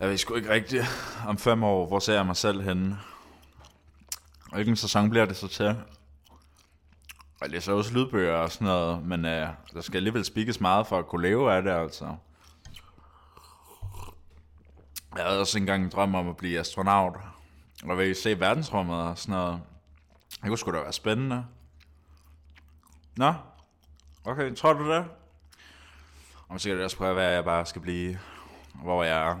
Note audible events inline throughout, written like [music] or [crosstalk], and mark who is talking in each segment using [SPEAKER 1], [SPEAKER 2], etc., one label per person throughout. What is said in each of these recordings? [SPEAKER 1] jeg sgu ikke rigtigt. Om fem år, hvor ser jeg mig selv henne? Hvilken sæson bliver det så til? Jeg læser også lydbøger og sådan noget, men øh, der skal alligevel spikkes meget for at kunne leve af det, altså. Jeg havde også engang en drøm om at blive astronaut, og vil se verdensrummet og sådan noget. Det kunne sgu da være spændende. Nå, okay, tror du det? Og sikkert også prøve at være, at jeg bare skal blive, hvor jeg er.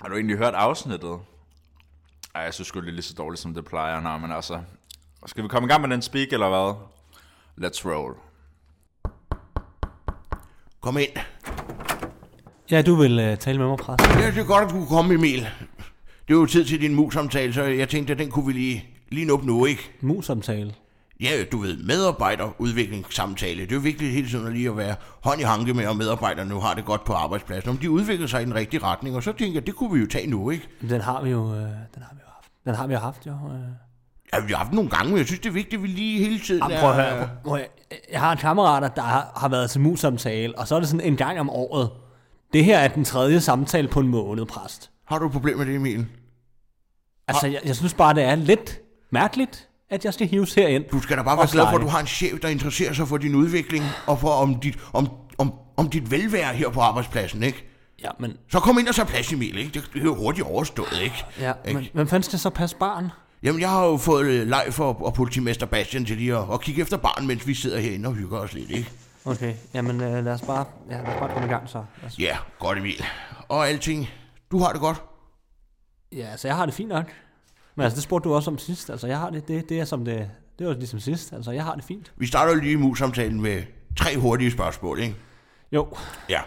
[SPEAKER 1] Har du egentlig hørt afsnittet? Ej, jeg synes sgu det er lige så dårligt, som det plejer. Nå, men altså... Skal vi komme i gang med den speak, eller hvad? Let's roll.
[SPEAKER 2] Kom ind.
[SPEAKER 3] Ja, du vil øh, tale med mig, præst.
[SPEAKER 2] Ja, det er godt, at du kunne komme, Emil. Det er jo tid til din mus-samtale, så jeg tænkte, at den kunne vi lige, lige nå nu, ikke?
[SPEAKER 3] Mus-samtale.
[SPEAKER 2] Ja, du ved, medarbejderudviklingssamtale. Det er jo vigtigt hele tiden at lige at være hånd i hanke med, om medarbejderne nu har det godt på arbejdspladsen. Om de udvikler sig i den rigtige retning, og så tænker jeg, det kunne vi jo tage nu, ikke?
[SPEAKER 3] Den har vi jo, øh, den har vi jo haft. Den har vi jo haft, jo. Øh.
[SPEAKER 2] Ja, vi har haft den nogle gange, men jeg synes, det er vigtigt, at vi lige hele tiden
[SPEAKER 3] Jamen, prøv at høre. Prøv, prøv at, høre. jeg har en kammerat, der har, har været til mus-samtale, og så er det sådan en gang om året. Det her er den tredje samtale på en måned, præst.
[SPEAKER 2] Har du et problem med det, Emil?
[SPEAKER 3] Altså, jeg, jeg synes bare, det er lidt mærkeligt, at jeg skal hives herind.
[SPEAKER 2] Du skal da bare være
[SPEAKER 3] Og
[SPEAKER 2] glad for,
[SPEAKER 3] pleje.
[SPEAKER 2] at du har en chef, der interesserer sig for din udvikling, og for om dit, om, om, om dit velvære her på arbejdspladsen, ikke?
[SPEAKER 3] Ja, men,
[SPEAKER 2] Så kom ind og så plads, Emil, ikke? Det det er jo hurtigt overstået, ikke?
[SPEAKER 3] ja,
[SPEAKER 2] Ikke?
[SPEAKER 3] men hvem fanden skal så passe barn?
[SPEAKER 2] Jamen, jeg har jo fået øh, Leif og, og politimester Bastian til lige at, at kigge efter barn, mens vi sidder herinde og hygger os lidt, ikke?
[SPEAKER 3] Okay, jamen øh, lad, os bare, ja, lad os bare komme i gang så. Altså,
[SPEAKER 2] Ja, godt Emil. Og alting, du har det godt?
[SPEAKER 3] ja, altså jeg har det fint nok. Men altså, det spurgte du også om sidst. Altså, jeg har det, det, det er som det, det var ligesom sidst. Altså, jeg har det fint.
[SPEAKER 2] Vi starter jo lige mus-samtalen med tre hurtige spørgsmål, ikke?
[SPEAKER 3] Jo,
[SPEAKER 2] Ja,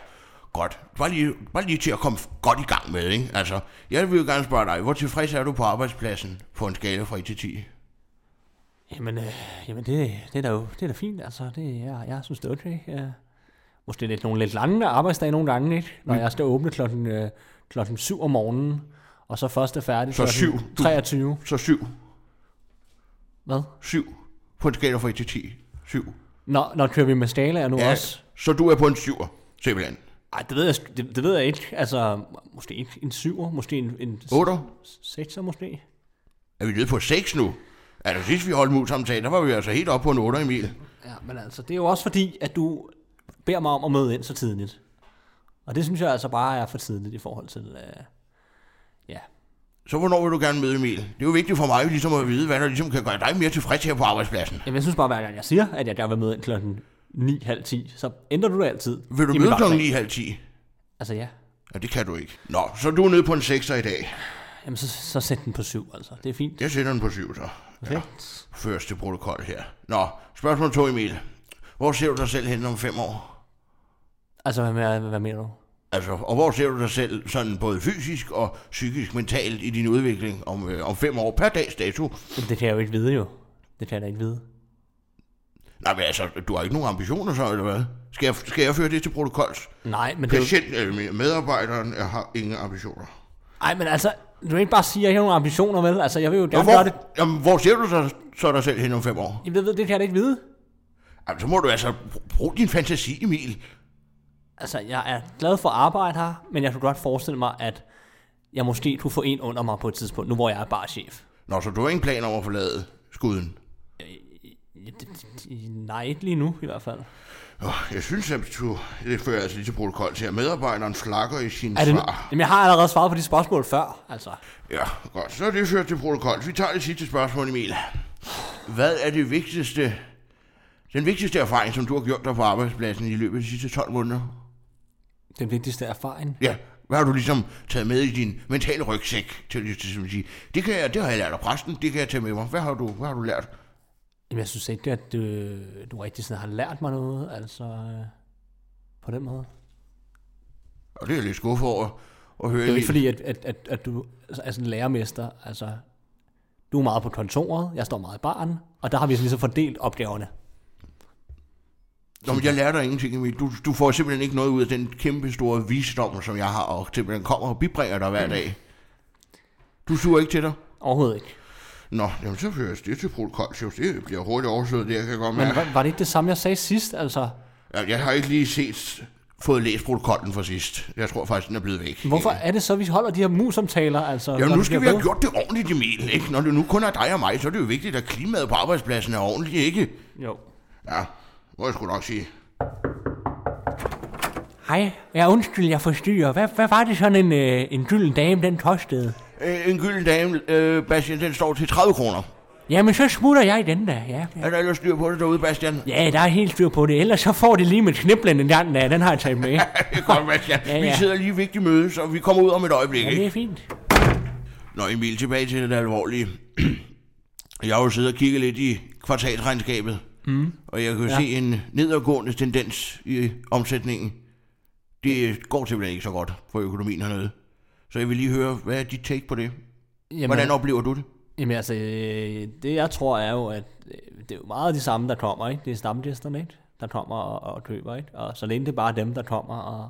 [SPEAKER 2] godt. Bare lige, bare lige til at komme godt i gang med, ikke? Altså, jeg vil jo gerne spørge dig, hvor tilfreds er du på arbejdspladsen på en skala fra 1 til 10?
[SPEAKER 3] Jamen, øh, jamen det, det, er da jo, det er da fint, altså. Det, jeg, jeg synes, det er okay. Øh, måske lidt nogle lidt lange arbejdsdage nogle gange, ikke? Når jeg skal åbne klokken, øh, klokken 7 om morgenen, og så først er færdig
[SPEAKER 2] Så
[SPEAKER 3] klokken
[SPEAKER 2] syv, du-
[SPEAKER 3] 23.
[SPEAKER 2] Så 7.
[SPEAKER 3] Hvad?
[SPEAKER 2] 7. På en skala fra 1 til 10. 7.
[SPEAKER 3] Nå, når kører vi med skalaer nu ja. også?
[SPEAKER 2] Så du er på en 7'er, simpelthen.
[SPEAKER 3] Ej, det ved, jeg, sk- det, det ved jeg ikke. Altså, måske ikke en 7'er, måske en, en
[SPEAKER 2] 8'er.
[SPEAKER 3] 6'er måske.
[SPEAKER 2] Er vi nede på 6 nu? Altså sidst vi holdt mus-samtalen, der var vi altså helt oppe på en 8'er, Emil.
[SPEAKER 3] Ja, men altså, det er jo også fordi, at du beder mig om at møde ind så tidligt. Og det synes jeg altså bare er for tidligt i forhold til, øh, ja,
[SPEAKER 2] Så hvornår vil du gerne møde Emil? Det er jo vigtigt for mig ligesom at vide, hvad der ligesom kan gøre dig mere tilfreds her på arbejdspladsen.
[SPEAKER 3] Jamen, jeg synes bare, hver gang jeg siger, at jeg gerne vil møde ind klokken 9.30, så ændrer du det altid.
[SPEAKER 2] Vil du
[SPEAKER 3] i mit
[SPEAKER 2] møde
[SPEAKER 3] bagslag.
[SPEAKER 2] klokken 9.30?
[SPEAKER 3] Altså ja.
[SPEAKER 2] Ja, det kan du ikke. Nå, så du er nede på en 6'er i dag.
[SPEAKER 3] Jamen, så, så sæt den på syv, altså. Det er fint.
[SPEAKER 2] Jeg sætter den på 7 så.
[SPEAKER 3] Okay.
[SPEAKER 2] Første protokol her. Nå, spørgsmål 2, Emil. Hvor ser du dig selv hen om fem år?
[SPEAKER 3] Altså, hvad, hvad, hvad mener du?
[SPEAKER 2] Altså, og hvor ser du dig selv sådan både fysisk og psykisk mentalt i din udvikling om, øh, om fem år per dags dato?
[SPEAKER 3] Jamen, det kan jeg jo ikke vide, jo. Det kan jeg da ikke vide.
[SPEAKER 2] Nej, men altså, du har ikke nogen ambitioner så, eller hvad? Skal jeg, skal jeg føre det til protokols?
[SPEAKER 3] Nej, men det er jo...
[SPEAKER 2] Patient, øh, medarbejderen jeg har ingen ambitioner.
[SPEAKER 3] Ej, men altså, du kan ikke bare sige, at jeg ikke har nogen ambitioner, vel? Altså, jeg vil jo
[SPEAKER 2] Og
[SPEAKER 3] gerne gøre det.
[SPEAKER 2] hvor, jamen, hvor ser du så, så dig selv hen om fem år?
[SPEAKER 3] Jamen, det, ved- det kan jeg da ikke vide.
[SPEAKER 2] Jamen, så må du altså br- bruge din fantasi, Emil.
[SPEAKER 3] Altså, jeg er glad for at arbejde her, men jeg kunne godt forestille mig, at jeg måske kunne få en under mig på et tidspunkt, nu hvor jeg er bare chef.
[SPEAKER 2] Nå, så du har ingen plan om at forlade skuden?
[SPEAKER 3] Nej, ikke lige nu i hvert fald.
[SPEAKER 2] Åh, Jeg synes, at du, det fører altså lige til protokol til, at medarbejderen flakker i sin
[SPEAKER 3] Er det,
[SPEAKER 2] svar.
[SPEAKER 3] jamen, jeg har allerede svaret på de spørgsmål før, altså.
[SPEAKER 2] Ja, godt. Så er det ført til protokol. Vi tager det sidste spørgsmål, Emil. Hvad er det vigtigste, den vigtigste erfaring, som du har gjort dig på arbejdspladsen i løbet af de sidste 12 måneder?
[SPEAKER 3] Den vigtigste erfaring.
[SPEAKER 2] Ja, hvad har du ligesom taget med i din mentale rygsæk til at ligesom sige, det, kan jeg, det har jeg lært af præsten, det kan jeg tage med mig. Hvad har du, hvad har du lært?
[SPEAKER 3] Jamen, jeg synes ikke, at øh, du rigtig sådan har lært mig noget, altså øh, på den måde.
[SPEAKER 2] Og det er jeg lidt skuffet over at høre.
[SPEAKER 3] Det er jo
[SPEAKER 2] Emil.
[SPEAKER 3] ikke fordi, at, at, at, at du er sådan en lærermester, altså du er meget på kontoret, jeg står meget i baren, og der har vi sådan ligesom fordelt opgaverne.
[SPEAKER 2] Nå, men jeg lærer dig ingenting, Emil. Du, du får simpelthen ikke noget ud af den kæmpe store visdom, som jeg har, og simpelthen kommer og bibringer dig hver dag. Du suger ikke til dig?
[SPEAKER 3] Overhovedet ikke.
[SPEAKER 2] Nå, jamen så føres det til protokol, så det bliver hurtigt overstået, det jeg kan godt
[SPEAKER 3] Men
[SPEAKER 2] mærke.
[SPEAKER 3] var, var det ikke det samme, jeg sagde sidst, altså?
[SPEAKER 2] Ja, Jeg har ikke lige set fået læst protokollen fra sidst. Jeg tror faktisk, den er blevet væk.
[SPEAKER 3] Hvorfor er det så, vi holder de her musomtaler? Altså, når
[SPEAKER 2] Jamen,
[SPEAKER 3] de
[SPEAKER 2] nu skal vi
[SPEAKER 3] bliver
[SPEAKER 2] have
[SPEAKER 3] ved?
[SPEAKER 2] gjort det ordentligt, Emil, ikke? Når det nu kun er dig og mig, så er det jo vigtigt, at klimaet på arbejdspladsen er ordentligt, ikke?
[SPEAKER 3] Jo.
[SPEAKER 2] Ja, må jeg sgu nok sige.
[SPEAKER 3] Hej, jeg undskyld, jeg forstyrrer. Hvad, hvad var det sådan en, øh, en gylden dame, den tostede?
[SPEAKER 2] Øh, en gylden dame, øh, Bastian, den står til 30 kroner.
[SPEAKER 3] Jamen, så smutter jeg den der, ja. ja.
[SPEAKER 2] Er der ellers styr på det derude, Bastian?
[SPEAKER 3] Ja, der er helt styr på det. Ellers så får det lige med kniblen en gang, ja, den har jeg taget
[SPEAKER 2] [laughs]
[SPEAKER 3] med.
[SPEAKER 2] Det er godt, Bastian. ja,
[SPEAKER 3] Ja,
[SPEAKER 2] ja. Vi
[SPEAKER 3] ja.
[SPEAKER 2] sidder lige i vigtig møde, så vi kommer ud om et øjeblik,
[SPEAKER 3] Ja,
[SPEAKER 2] ikke?
[SPEAKER 3] det er fint.
[SPEAKER 2] Nå, Emil, tilbage til det alvorlige. [clears throat] Jeg har jo siddet og kigget lidt i kvartalsregnskabet, mm. og jeg kan jo ja. se en nedadgående tendens i omsætningen. Det går simpelthen ikke så godt for økonomien hernede. Så jeg vil lige høre, hvad er dit take på det?
[SPEAKER 3] Jamen,
[SPEAKER 2] Hvordan oplever du det?
[SPEAKER 3] Jamen altså, øh, det jeg tror er jo, at øh, det er jo meget de samme, der kommer, ikke? Det er stamgæsterne, ikke? Der kommer og, og køber, ikke? Og så længe det er bare dem, der kommer og,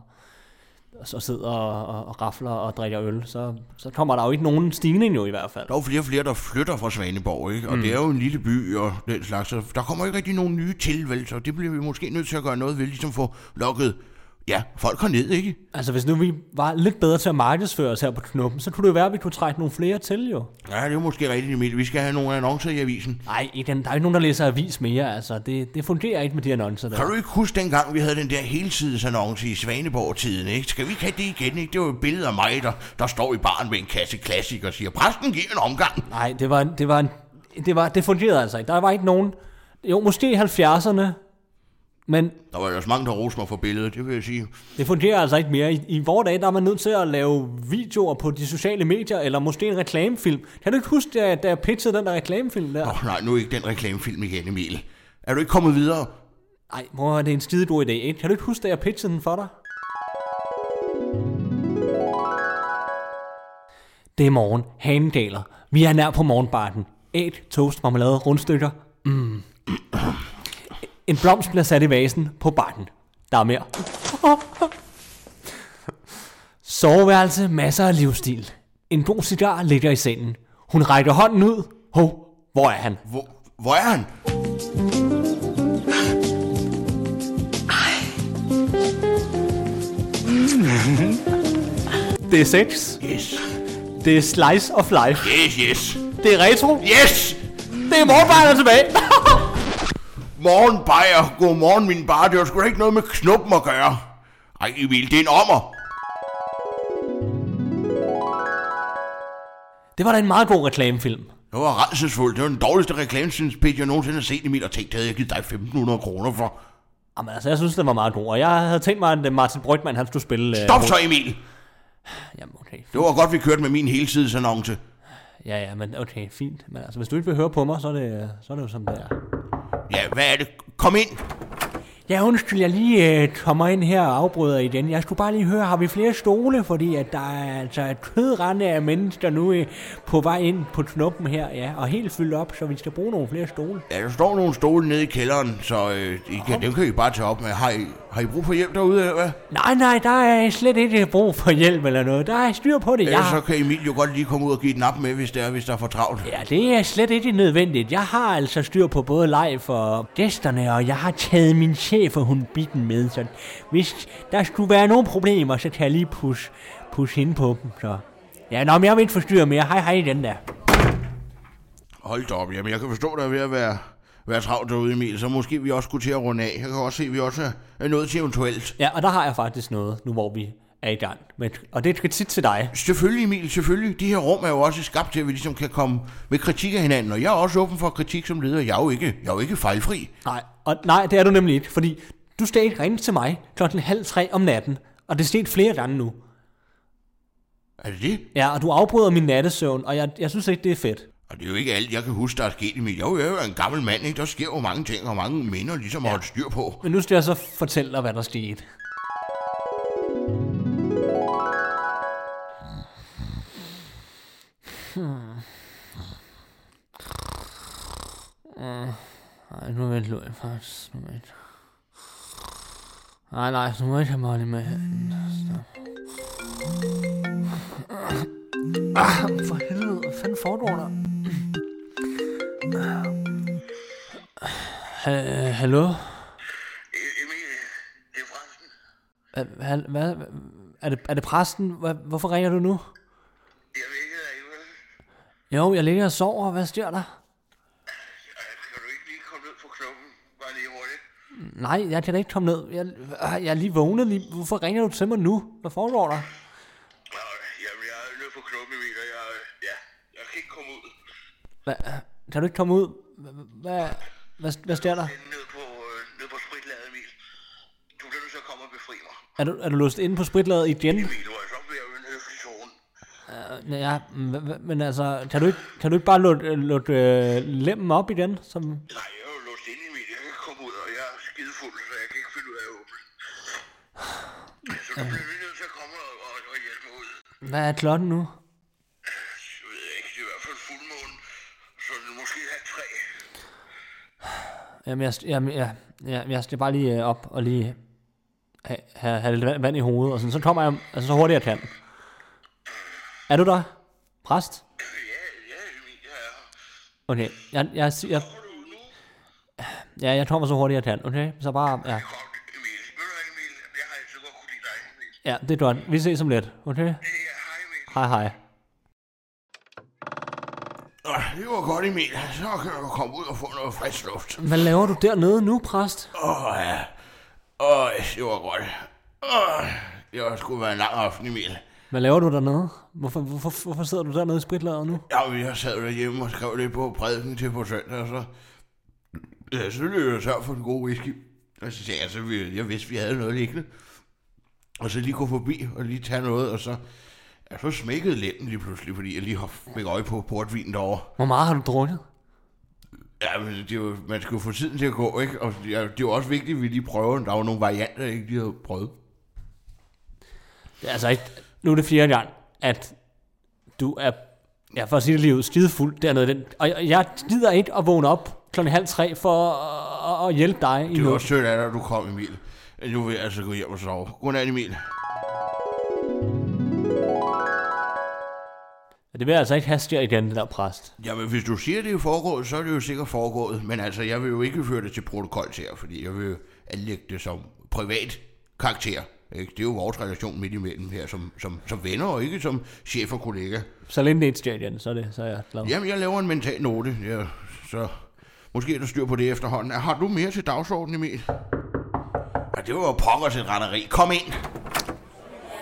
[SPEAKER 3] og så sidder og, og, og rafler og drikker øl, så, så kommer der jo ikke nogen stigning jo i hvert fald.
[SPEAKER 2] Der er jo flere og flere, der flytter fra Svaneborg, ikke? og mm. det er jo en lille by og den slags. Så der kommer ikke rigtig nogen nye til, vel? Så det bliver vi måske nødt til at gøre noget ved, ligesom få lukket ja, folk herned, ikke?
[SPEAKER 3] Altså hvis nu vi var lidt bedre til at markedsføre os her på knuppen, så kunne det jo være, at vi kunne trække nogle flere til jo.
[SPEAKER 2] Ja, det er jo måske rigtigt, Emil. Vi skal have nogle annoncer i avisen.
[SPEAKER 3] Nej, der er jo ikke nogen, der læser avis mere, altså. Det, det fungerer ikke med de annoncer der.
[SPEAKER 2] Kan du ikke huske dengang, vi havde den der helsidesannonce i Svaneborg-tiden, ikke? Skal vi ikke have det igen, ikke? Det var jo et billede af mig, der, der står i baren med en kasse klassik og siger, præsten giver en omgang.
[SPEAKER 3] Nej, det var, det var, en, det var, det fungerede altså ikke. Der var ikke nogen, jo måske i 70'erne, men
[SPEAKER 2] Der var ellers mange, der roste mig for billedet, det vil jeg sige.
[SPEAKER 3] det fungerer altså ikke mere. I, i vores dage, der er man nødt til at lave videoer på de sociale medier, eller måske en reklamefilm. Kan du ikke huske, da, da jeg pitchede den der reklamefilm der?
[SPEAKER 2] Åh, nej, nu er ikke den reklamefilm igen, Emil. Er du ikke kommet videre?
[SPEAKER 3] Nej, mor, det er en skide god idé, ikke? Kan du ikke huske, da jeg pitchede den for dig? Det er morgen. Hanedaler. Vi er nær på morgenbarten. Æg, toast, marmelade, rundstykker. Mm. En blomst bliver sat i vasen på barten. Der er mere. Soveværelse, masser af livsstil. En god cigar ligger i sengen. Hun rækker hånden ud. Hov, hvor er han?
[SPEAKER 2] Hvor, hvor er han?
[SPEAKER 3] Det er sex.
[SPEAKER 2] Yes,
[SPEAKER 3] Det er slice of life.
[SPEAKER 2] yes, yes,
[SPEAKER 3] Det er retro.
[SPEAKER 2] yes!
[SPEAKER 3] Det er morgenbarnet tilbage.
[SPEAKER 2] Morgen, Bayer. Godmorgen, min bar. Det var sgu da ikke noget med knuppen at gøre. Ej, Emil, det er en ommer.
[SPEAKER 3] [laughs] det var da en meget god reklamefilm.
[SPEAKER 2] Det var redselsfuldt. Det var den dårligste reklamesynspid, jeg nogensinde har set, Emil, og tænkt, det havde jeg givet dig 1.500 kroner for.
[SPEAKER 3] Jamen altså, jeg synes, den var meget god. Og jeg havde tænkt mig, at øh, Martin Brygman, han skulle spille... øh,
[SPEAKER 2] Stop så, Emil!
[SPEAKER 3] ho- Jamen okay.
[SPEAKER 2] Det var godt, vi kørte med min helsidesannonce.
[SPEAKER 3] Ja, ja, men okay, fint. Men altså, hvis du ikke vil høre på mig, så er det, øh, så er det jo som det er.
[SPEAKER 2] Ja, hvad er det? Kom ind!
[SPEAKER 3] Ja, undskyld, jeg lige øh, kommer ind her og afbryder igen. Jeg skulle bare lige høre, har vi flere stole? Fordi at der er altså et kødrende af mennesker nu øh, på vej ind på knuppen her, ja. Og helt fyldt op, så vi skal bruge nogle flere stole.
[SPEAKER 2] Ja, der står nogle stole nede i kælderen, så øh, I kan, dem kan I bare tage op med. Har I, har I brug for hjælp derude, eller hvad?
[SPEAKER 3] Nej, nej, der er slet ikke brug for hjælp eller noget. Der er styr på det,
[SPEAKER 2] Ja.
[SPEAKER 3] jeg
[SPEAKER 2] Ellers Øh, så kan Emil jo godt lige komme ud og give den op med, hvis der er, hvis der er for travlt.
[SPEAKER 3] Ja, det er slet ikke nødvendigt. Jeg har altså styr på både live og gæsterne, og jeg har taget min chef og hun bitten med, så hvis der skulle være nogle problemer, så kan jeg lige push, push hende på dem, så... Ja, nå, men jeg vil ikke forstyrre mere. Hej, hej, den der.
[SPEAKER 2] Hold da op, jamen jeg kan forstå, der er ved at være, være travlt derude, Emil, så måske vi også skulle til at runde af. Jeg kan også se, at vi også er- er nået til eventuelt.
[SPEAKER 3] Ja, og der har jeg faktisk noget, nu hvor vi er i gang. Men, og det er et kritik til dig.
[SPEAKER 2] Selvfølgelig, Emil, selvfølgelig. De her rum er jo også skabt til, at vi ligesom kan komme med kritik af hinanden. Og jeg er også åben for kritik som leder. Jeg er jo ikke, jeg er jo ikke fejlfri.
[SPEAKER 3] Nej, og nej, det er du nemlig ikke, fordi du skal ikke ringe til mig klokken halv tre om natten, og det er sket flere gange nu.
[SPEAKER 2] Er det det?
[SPEAKER 3] Ja, og du afbryder min nattesøvn, og jeg, jeg synes ikke, det er fedt.
[SPEAKER 2] Og det er jo ikke alt, jeg kan huske, der er sket, Emil. Jeg er jo- jeg er jo en gammel mand, ikke? Der sker jo mange ting, og mange minder ligesom at holde styr på.
[SPEAKER 3] Men nu skal jeg så fortælle dig, hvad der skete. Nej, nu vent, Louis, faktisk. Nu vent. Nej, nej, nu må jeg ikke have Molly med her. Ah, for helvede, hvad fanden foregår der? Ah. Ha- Hallo?
[SPEAKER 4] E- Emil, det er Fransen.
[SPEAKER 3] Hvad, hvad, hvad, er, det, er det præsten? Hvad, hvorfor ringer du nu?
[SPEAKER 4] Jeg ved ikke, Eva.
[SPEAKER 3] Jo, jeg ligger og sover. Hvad sker der?
[SPEAKER 4] Kan du ikke lige komme ned på klubben? Bare lige hurtigt.
[SPEAKER 3] Nej, jeg kan da ikke komme ned. Jeg, øh, jeg er lige vågnet lige. Hvorfor ringer du til mig nu? Hvad foregår der?
[SPEAKER 4] Nå, jamen, jeg er nødt på klubben, Emil, og jeg, ja, jeg kan ikke komme ud.
[SPEAKER 3] Hvad, kan du ikke komme ud? Hvad, hvad, hvad, hvad sker der?
[SPEAKER 4] Jeg er ned på, øh, ned på spritladet, Emil. Du bliver nødt til at komme og befri mig.
[SPEAKER 3] Er du, er du låst inde på spritladet igen?
[SPEAKER 4] Emil, hvor jeg så bliver jo en høflig tone.
[SPEAKER 3] Øh, Ja, men hvad- hvad- men altså, kan du ikke, kan du ikke bare lukke, øh, lukke øh, lemmen op igen? Som,
[SPEAKER 4] Nej, jeg er jo låst inde, Emil. Jeg kan ikke komme ud, og jeg er skidefuld, så jeg kan ikke finde ud af at åbne. Så du bliver lige nødt til at komme og, og, og hjælpe mig ud.
[SPEAKER 3] hvad er klokken nu?
[SPEAKER 4] Jeg ved ikke, det er i hvert fald fuldmåne. Så det er måske halv tre.
[SPEAKER 3] Jamen, jeg, jamen, jeg, jeg, jeg skal bare lige øh, op og lige have, have, have lidt vand, vand i hovedet, og sådan. så kommer jeg altså, så hurtigt jeg kan. Er du der? Præst?
[SPEAKER 4] Ja, ja, Emil, jeg er her.
[SPEAKER 3] Okay, jeg, jeg, jeg, jeg,
[SPEAKER 4] Kommer du ud nu?
[SPEAKER 3] ja, jeg kommer så hurtigt jeg kan, okay? Så bare, ja,
[SPEAKER 4] Godt, Emil. Ved du hvad, Emil? Jeg har altid godt kunne lide dig, Emil.
[SPEAKER 3] ja det er godt. Vi ses om lidt, okay?
[SPEAKER 4] Ja, hej, Emil.
[SPEAKER 3] Hej hej.
[SPEAKER 2] Nå, det var godt, Emil. Så kan jeg jo komme ud og få noget frisk luft.
[SPEAKER 3] Hvad laver du dernede nu, præst?
[SPEAKER 2] Åh, ja. Åh, det var godt. Åh, det var sgu været en lang aften, Emil.
[SPEAKER 3] Hvad laver du dernede? Hvorfor, hvorfor, hvorfor sidder du dernede i spritlaget nu?
[SPEAKER 2] Ja, men jeg sad jo derhjemme og skrev lidt på prædiken til på søndag, og så... Ja, så løb jeg tør for den gode whisky. Og så sagde jeg, så vi, jeg vidste, vi havde noget liggende. Og så lige gå forbi og lige tage noget, og så... Ja, så smækkede lænden lige pludselig, fordi jeg lige hop- fik øje på portvin derovre.
[SPEAKER 3] Hvor meget har du drukket?
[SPEAKER 2] Ja, men det er jo, man skal jo få tiden til at gå, ikke? Og det er det er jo også vigtigt, at vi lige prøver. Der er jo nogle varianter, jeg ikke lige har prøvet.
[SPEAKER 3] Det er altså ikke... Nu er det fjerde gang, at du er... Ja, for at sige det lige ud, skidefuld dernede. i Den, og jeg- jeg gider ikke at vågne op klokken halv tre for at, at hjælpe dig i
[SPEAKER 2] Det var
[SPEAKER 3] noget.
[SPEAKER 2] også sødt af dig, at du kom, Emil. Nu vil jeg altså gå hjem og sove. Godnat, Emil.
[SPEAKER 3] Det vil jeg altså ikke have sker igen, den der præst.
[SPEAKER 2] Jamen, hvis du siger, det er foregået, så er det jo sikkert foregået. Men altså, jeg vil jo ikke føre det til protokol til jer, fordi jeg vil jo anlægge det som privat karakter. Ikke? Det er jo vores relation midt imellem her, som, som, som venner og ikke som chef og kollega.
[SPEAKER 3] Så længe det ikke sker igen, så er, det, så er jeg glad.
[SPEAKER 2] Jamen, jeg laver en mental note, ja, så måske er der styr på det efterhånden. Har du mere til dagsordenen, Emil? Ja, det var jo pokker til et renderi. Kom ind.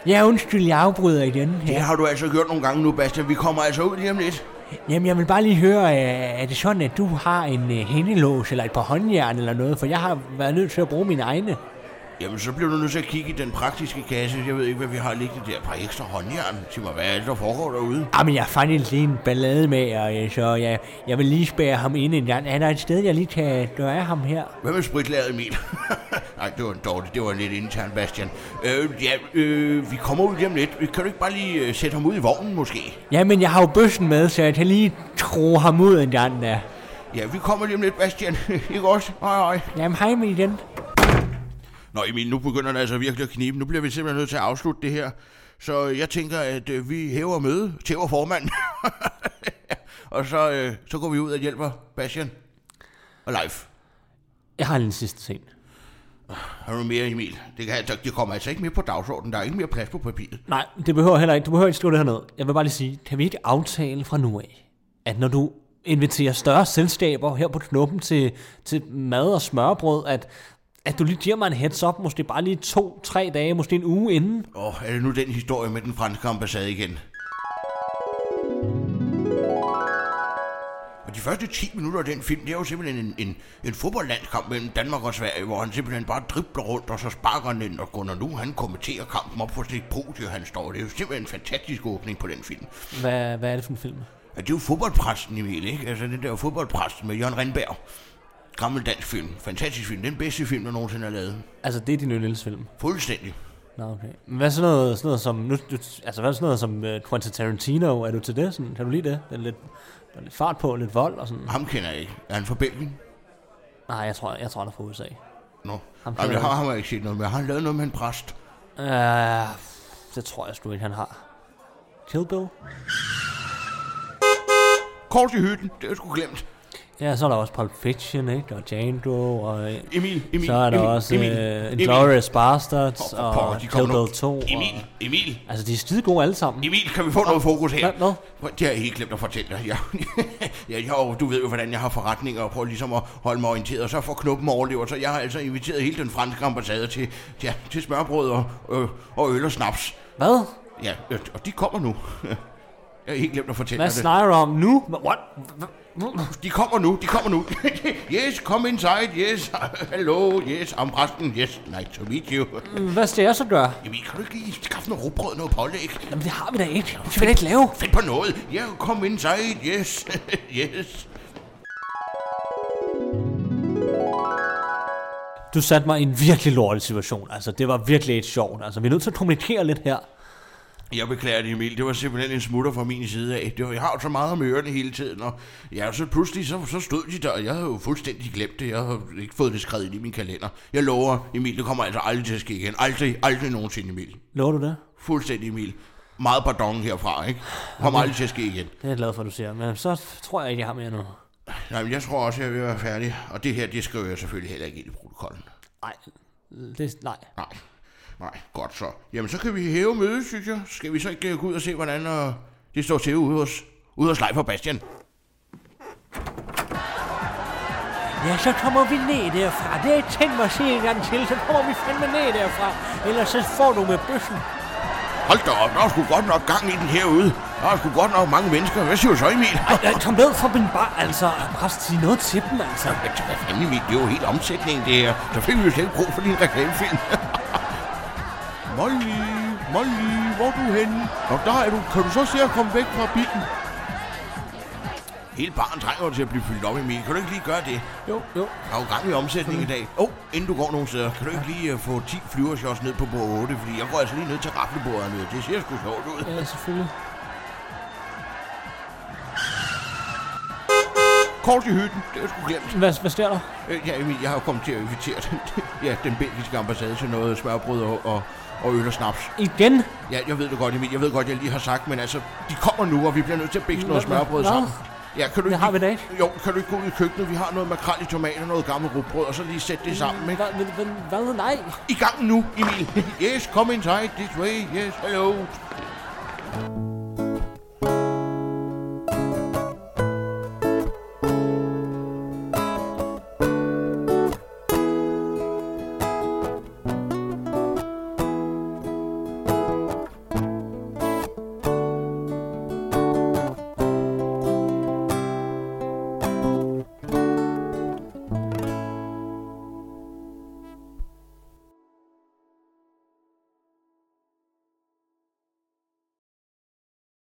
[SPEAKER 3] Ja, undskyld, jeg afbryder igen.
[SPEAKER 2] Det
[SPEAKER 3] Ja.
[SPEAKER 2] har du altså gjort nogle gange nu, Bastian. Vi kommer altså ud lige om lidt.
[SPEAKER 3] Jamen, jeg vil bare lige høre, øh, er det sådan, at du har en øh, hændelås eller et par håndjern eller noget? For jeg har været nødt til at bruge mine egne.
[SPEAKER 2] Jamen, så bliver du nødt til at kigge i den praktiske kasse. Jeg ved ikke, hvad vi har liggende der. Et par ekstra håndjern. Sig mig, hvad er det, der foregår derude?
[SPEAKER 3] Jamen, Ah, jeg fandt en lille ballade med, og øh, så jeg, jeg vil lige spære ham ind en gang. Er der et sted, jeg lige kan gøre af ham her?
[SPEAKER 2] Hvad med spritlaget, Emil? [laughs] Nej, det var en dårlig. Det var en lidt intern, Bastian. Øh, ja, øh, vi kommer ud lige om lidt. Kan du ikke bare lige øh, sætte ham ud i vognen, måske?
[SPEAKER 3] Jamen, jeg har jo bøssen med, så jeg kan lige tro ham ud en gang der.
[SPEAKER 2] Ja, vi kommer lige om lidt, Bastian. [laughs] ikke også? Hej, hej.
[SPEAKER 3] Jamen, hej med igen.
[SPEAKER 2] Nå Emil, nu begynder det altså virkelig at knibe. Nu bliver vi simpelthen nødt til at afslutte det her. Så jeg tænker, at øh, vi hæver møde, tæver formanden. [laughs] og så, øh, så går vi ud og hjælper Bastian og Leif.
[SPEAKER 3] Jeg har en sidste ting.
[SPEAKER 2] Har du mere, Emil? Det, kan, altså- det kommer altså ikke mere på dagsordenen. Der er ikke mere plads på papiret.
[SPEAKER 3] Nej, det behøver heller ikke. Du behøver ikke skrive det herned. Jeg vil bare lige sige, kan vi ikke aftale fra nu af, at når du inviterer større selskaber her på knuppen til, til mad og smørbrød, at, at du lige giver mig en heads up, måske bare lige to, tre dage, måske en uge inden.
[SPEAKER 2] Åh, er det nu den historie med den franske ambassade igen? Og de første 10 minutter af den film, det er jo simpelthen en, en, en fodboldlandskamp mellem Danmark og Sverige, hvor han simpelthen bare dribler rundt, og så sparker han den, og Gunnar nu, han kommenterer kampen op på sit podie, han står. Det er jo simpelthen en fantastisk åbning på den film.
[SPEAKER 3] Hvad, hvad er det for en film?
[SPEAKER 2] Og det er jo fodboldpræsten, Emil, ikke? Altså den der fodboldpræsten med Jørgen Renberg. Gammel dansk film. Fantastisk film. Den bedste film, der nogensinde er lavet.
[SPEAKER 3] Altså, det er din yndlingsfilm.
[SPEAKER 2] Fuldstændig.
[SPEAKER 3] Nå, okay. Men hvad er sådan noget, sådan noget som, nu, du, altså hvad er sådan noget som uh, Quentin Tarantino? Er du til det? Sådan, kan du lide det? Den er lidt, der er lidt fart på, lidt vold og sådan.
[SPEAKER 2] Ham kender jeg ikke. Er han fra Belgien?
[SPEAKER 3] Nej, jeg tror, jeg tror, han er fra USA.
[SPEAKER 2] Nå,
[SPEAKER 3] Ham
[SPEAKER 2] Jamen,
[SPEAKER 3] kender
[SPEAKER 2] jeg har ham ikke set noget med. Har han lavet noget med en præst?
[SPEAKER 3] Uh, det tror jeg sgu ikke, han har. Kill Bill?
[SPEAKER 2] Kors i hytten, det er sgu glemt.
[SPEAKER 3] Ja, så er der også Pulp Fiction, ikke? Og Django, og... øh,
[SPEAKER 2] Emil, Emil,
[SPEAKER 3] så er der
[SPEAKER 2] Emil,
[SPEAKER 3] også
[SPEAKER 2] Emil,
[SPEAKER 3] øh,
[SPEAKER 2] Emil.
[SPEAKER 3] Inglourious Bastards
[SPEAKER 2] Åh,
[SPEAKER 3] og,
[SPEAKER 2] for
[SPEAKER 3] og
[SPEAKER 2] pokker, de kommer nu.
[SPEAKER 3] Kill Bill 2.
[SPEAKER 2] Emil,
[SPEAKER 3] Og,
[SPEAKER 2] Emil,
[SPEAKER 3] altså, de er skide gode alle sammen.
[SPEAKER 2] Emil, kan vi få noget fokus her?
[SPEAKER 3] Hvad? Hvad?
[SPEAKER 2] Prøv, Det har jeg helt glemt at fortælle dig. Jeg, [laughs] ja, jeg, er jo- du ved jo, hvordan jeg har forretninger, og prøver ligesom at holde mig orienteret, og så får knuppen overlever, så jeg har altså inviteret hele den franske ambassade til, ja, til smørbrød og, øh, og øl og snaps.
[SPEAKER 3] Hvad?
[SPEAKER 2] Ja, øh, og de kommer nu. [laughs] Jeg har helt glemt at fortælle
[SPEAKER 3] Hvad
[SPEAKER 2] dig det.
[SPEAKER 3] snakker du om nu? Hva- What?
[SPEAKER 2] De kommer nu, de kommer nu. [laughs] yes, come inside, yes. [laughs] Hello, yes, I'm præsten, yes. Nice to meet you.
[SPEAKER 3] Hvad skal jeg så gøre?
[SPEAKER 2] Jamen, kan du ikke lige skaffe noget rugbrød, noget pålæg?
[SPEAKER 3] Jamen, det har vi da ikke. Det vil jeg ikke lave.
[SPEAKER 2] Find på noget. Ja, yeah, come inside, yes. [laughs] yes.
[SPEAKER 3] Du satte mig i en virkelig lortet situation. Altså, det var virkelig et sjovt. Altså, vi er nødt til at kommunikere lidt her.
[SPEAKER 2] Jeg beklager det, Emil. Det var simpelthen en smutter fra min side af. Det var, jeg har jo så meget om ørerne hele tiden, og ja, så pludselig så, så stod de der, og jeg havde jo fuldstændig glemt det. Jeg har ikke fået det skrevet ind i min kalender. Jeg lover, Emil, det kommer altså aldrig til at ske igen. Aldrig, aldrig nogensinde, Emil.
[SPEAKER 3] Lover du det?
[SPEAKER 2] Fuldstændig, Emil. Meget pardon herfra, ikke? Det Kommer aldrig til at ske igen.
[SPEAKER 3] Det er jeg glad for, at du siger. Men så tror jeg ikke, jeg har mere nu.
[SPEAKER 2] Nej, men jeg tror også, jeg er ved at være færdig. Og det her, det skriver jeg selvfølgelig heller ikke ind i protokollen.
[SPEAKER 3] Nej. Det, nej.
[SPEAKER 2] Nej, nej, godt så. Jamen, så kan vi hæve mødet, synes jeg. Skal vi så ikke øh, gå ud og se, hvordan øh, det står til ude hos, ude hos Leif og Bastian?
[SPEAKER 3] Ja, så kommer vi ned derfra. Det har jeg tænkt mig at sige en gang til. Så kommer vi fandme ned derfra. Ellers så får du med bøssen.
[SPEAKER 2] Hold da op, der er sgu godt nok gang i den herude. Der er sgu godt nok mange mennesker. Hvad siger du så, Emil?
[SPEAKER 3] Ej, ej, kom ned fra min bar, altså. Præst, sig noget til dem, altså.
[SPEAKER 2] Hvad hvad fanden, Emil? Det er jo helt omsætning, det her. Så fik vi jo slet ikke brug for din reklamefilm. [laughs] Molly, Molly, hvor er du henne? Nå, der er du. Kan du så se at komme væk fra bilen? Hele baren trænger jo til at blive fyldt op, Emil. Kan du ikke lige gøre det?
[SPEAKER 3] Jo, jo.
[SPEAKER 2] Der er jo gang i omsætningen i dag. Åh, oh, inden du går nogen steder, kan du ikke lige øh, få 10 flyvershots ned på bord 8? Fordi jeg går altså lige ned til raflebordet hernede. Det ser sgu sjovt ud.
[SPEAKER 3] Ja, selvfølgelig.
[SPEAKER 2] Kort i hytten, det er sgu glemt.
[SPEAKER 3] Hvad, hvad sker der?
[SPEAKER 2] Øh, Ja, Emil, jeg har jo kommet til at invitere den, [laughs] ja, den belgiske ambassade til noget smørbrød og, og, og øl og snaps.
[SPEAKER 3] Igen?
[SPEAKER 2] Ja, jeg ved det godt, Emil. Jeg ved godt, jeg lige har sagt, men altså, de kommer nu, og vi bliver nødt til at bækse noget
[SPEAKER 3] Nå,
[SPEAKER 2] smørbrød
[SPEAKER 3] nå.
[SPEAKER 2] sammen. Ja, kan du
[SPEAKER 3] Det
[SPEAKER 2] ikke,
[SPEAKER 3] har vi da ikke.
[SPEAKER 2] Jo, kan du ikke gå ud i køkkenet? Vi har noget makrel i tomater, noget gammelt rugbrød, og så lige sætte det sammen, ikke?
[SPEAKER 3] Hvad, hvad, hvad, hvad, nej.
[SPEAKER 2] [laughs] I gang nu, Emil. Yes, come inside this way. Yes, hello.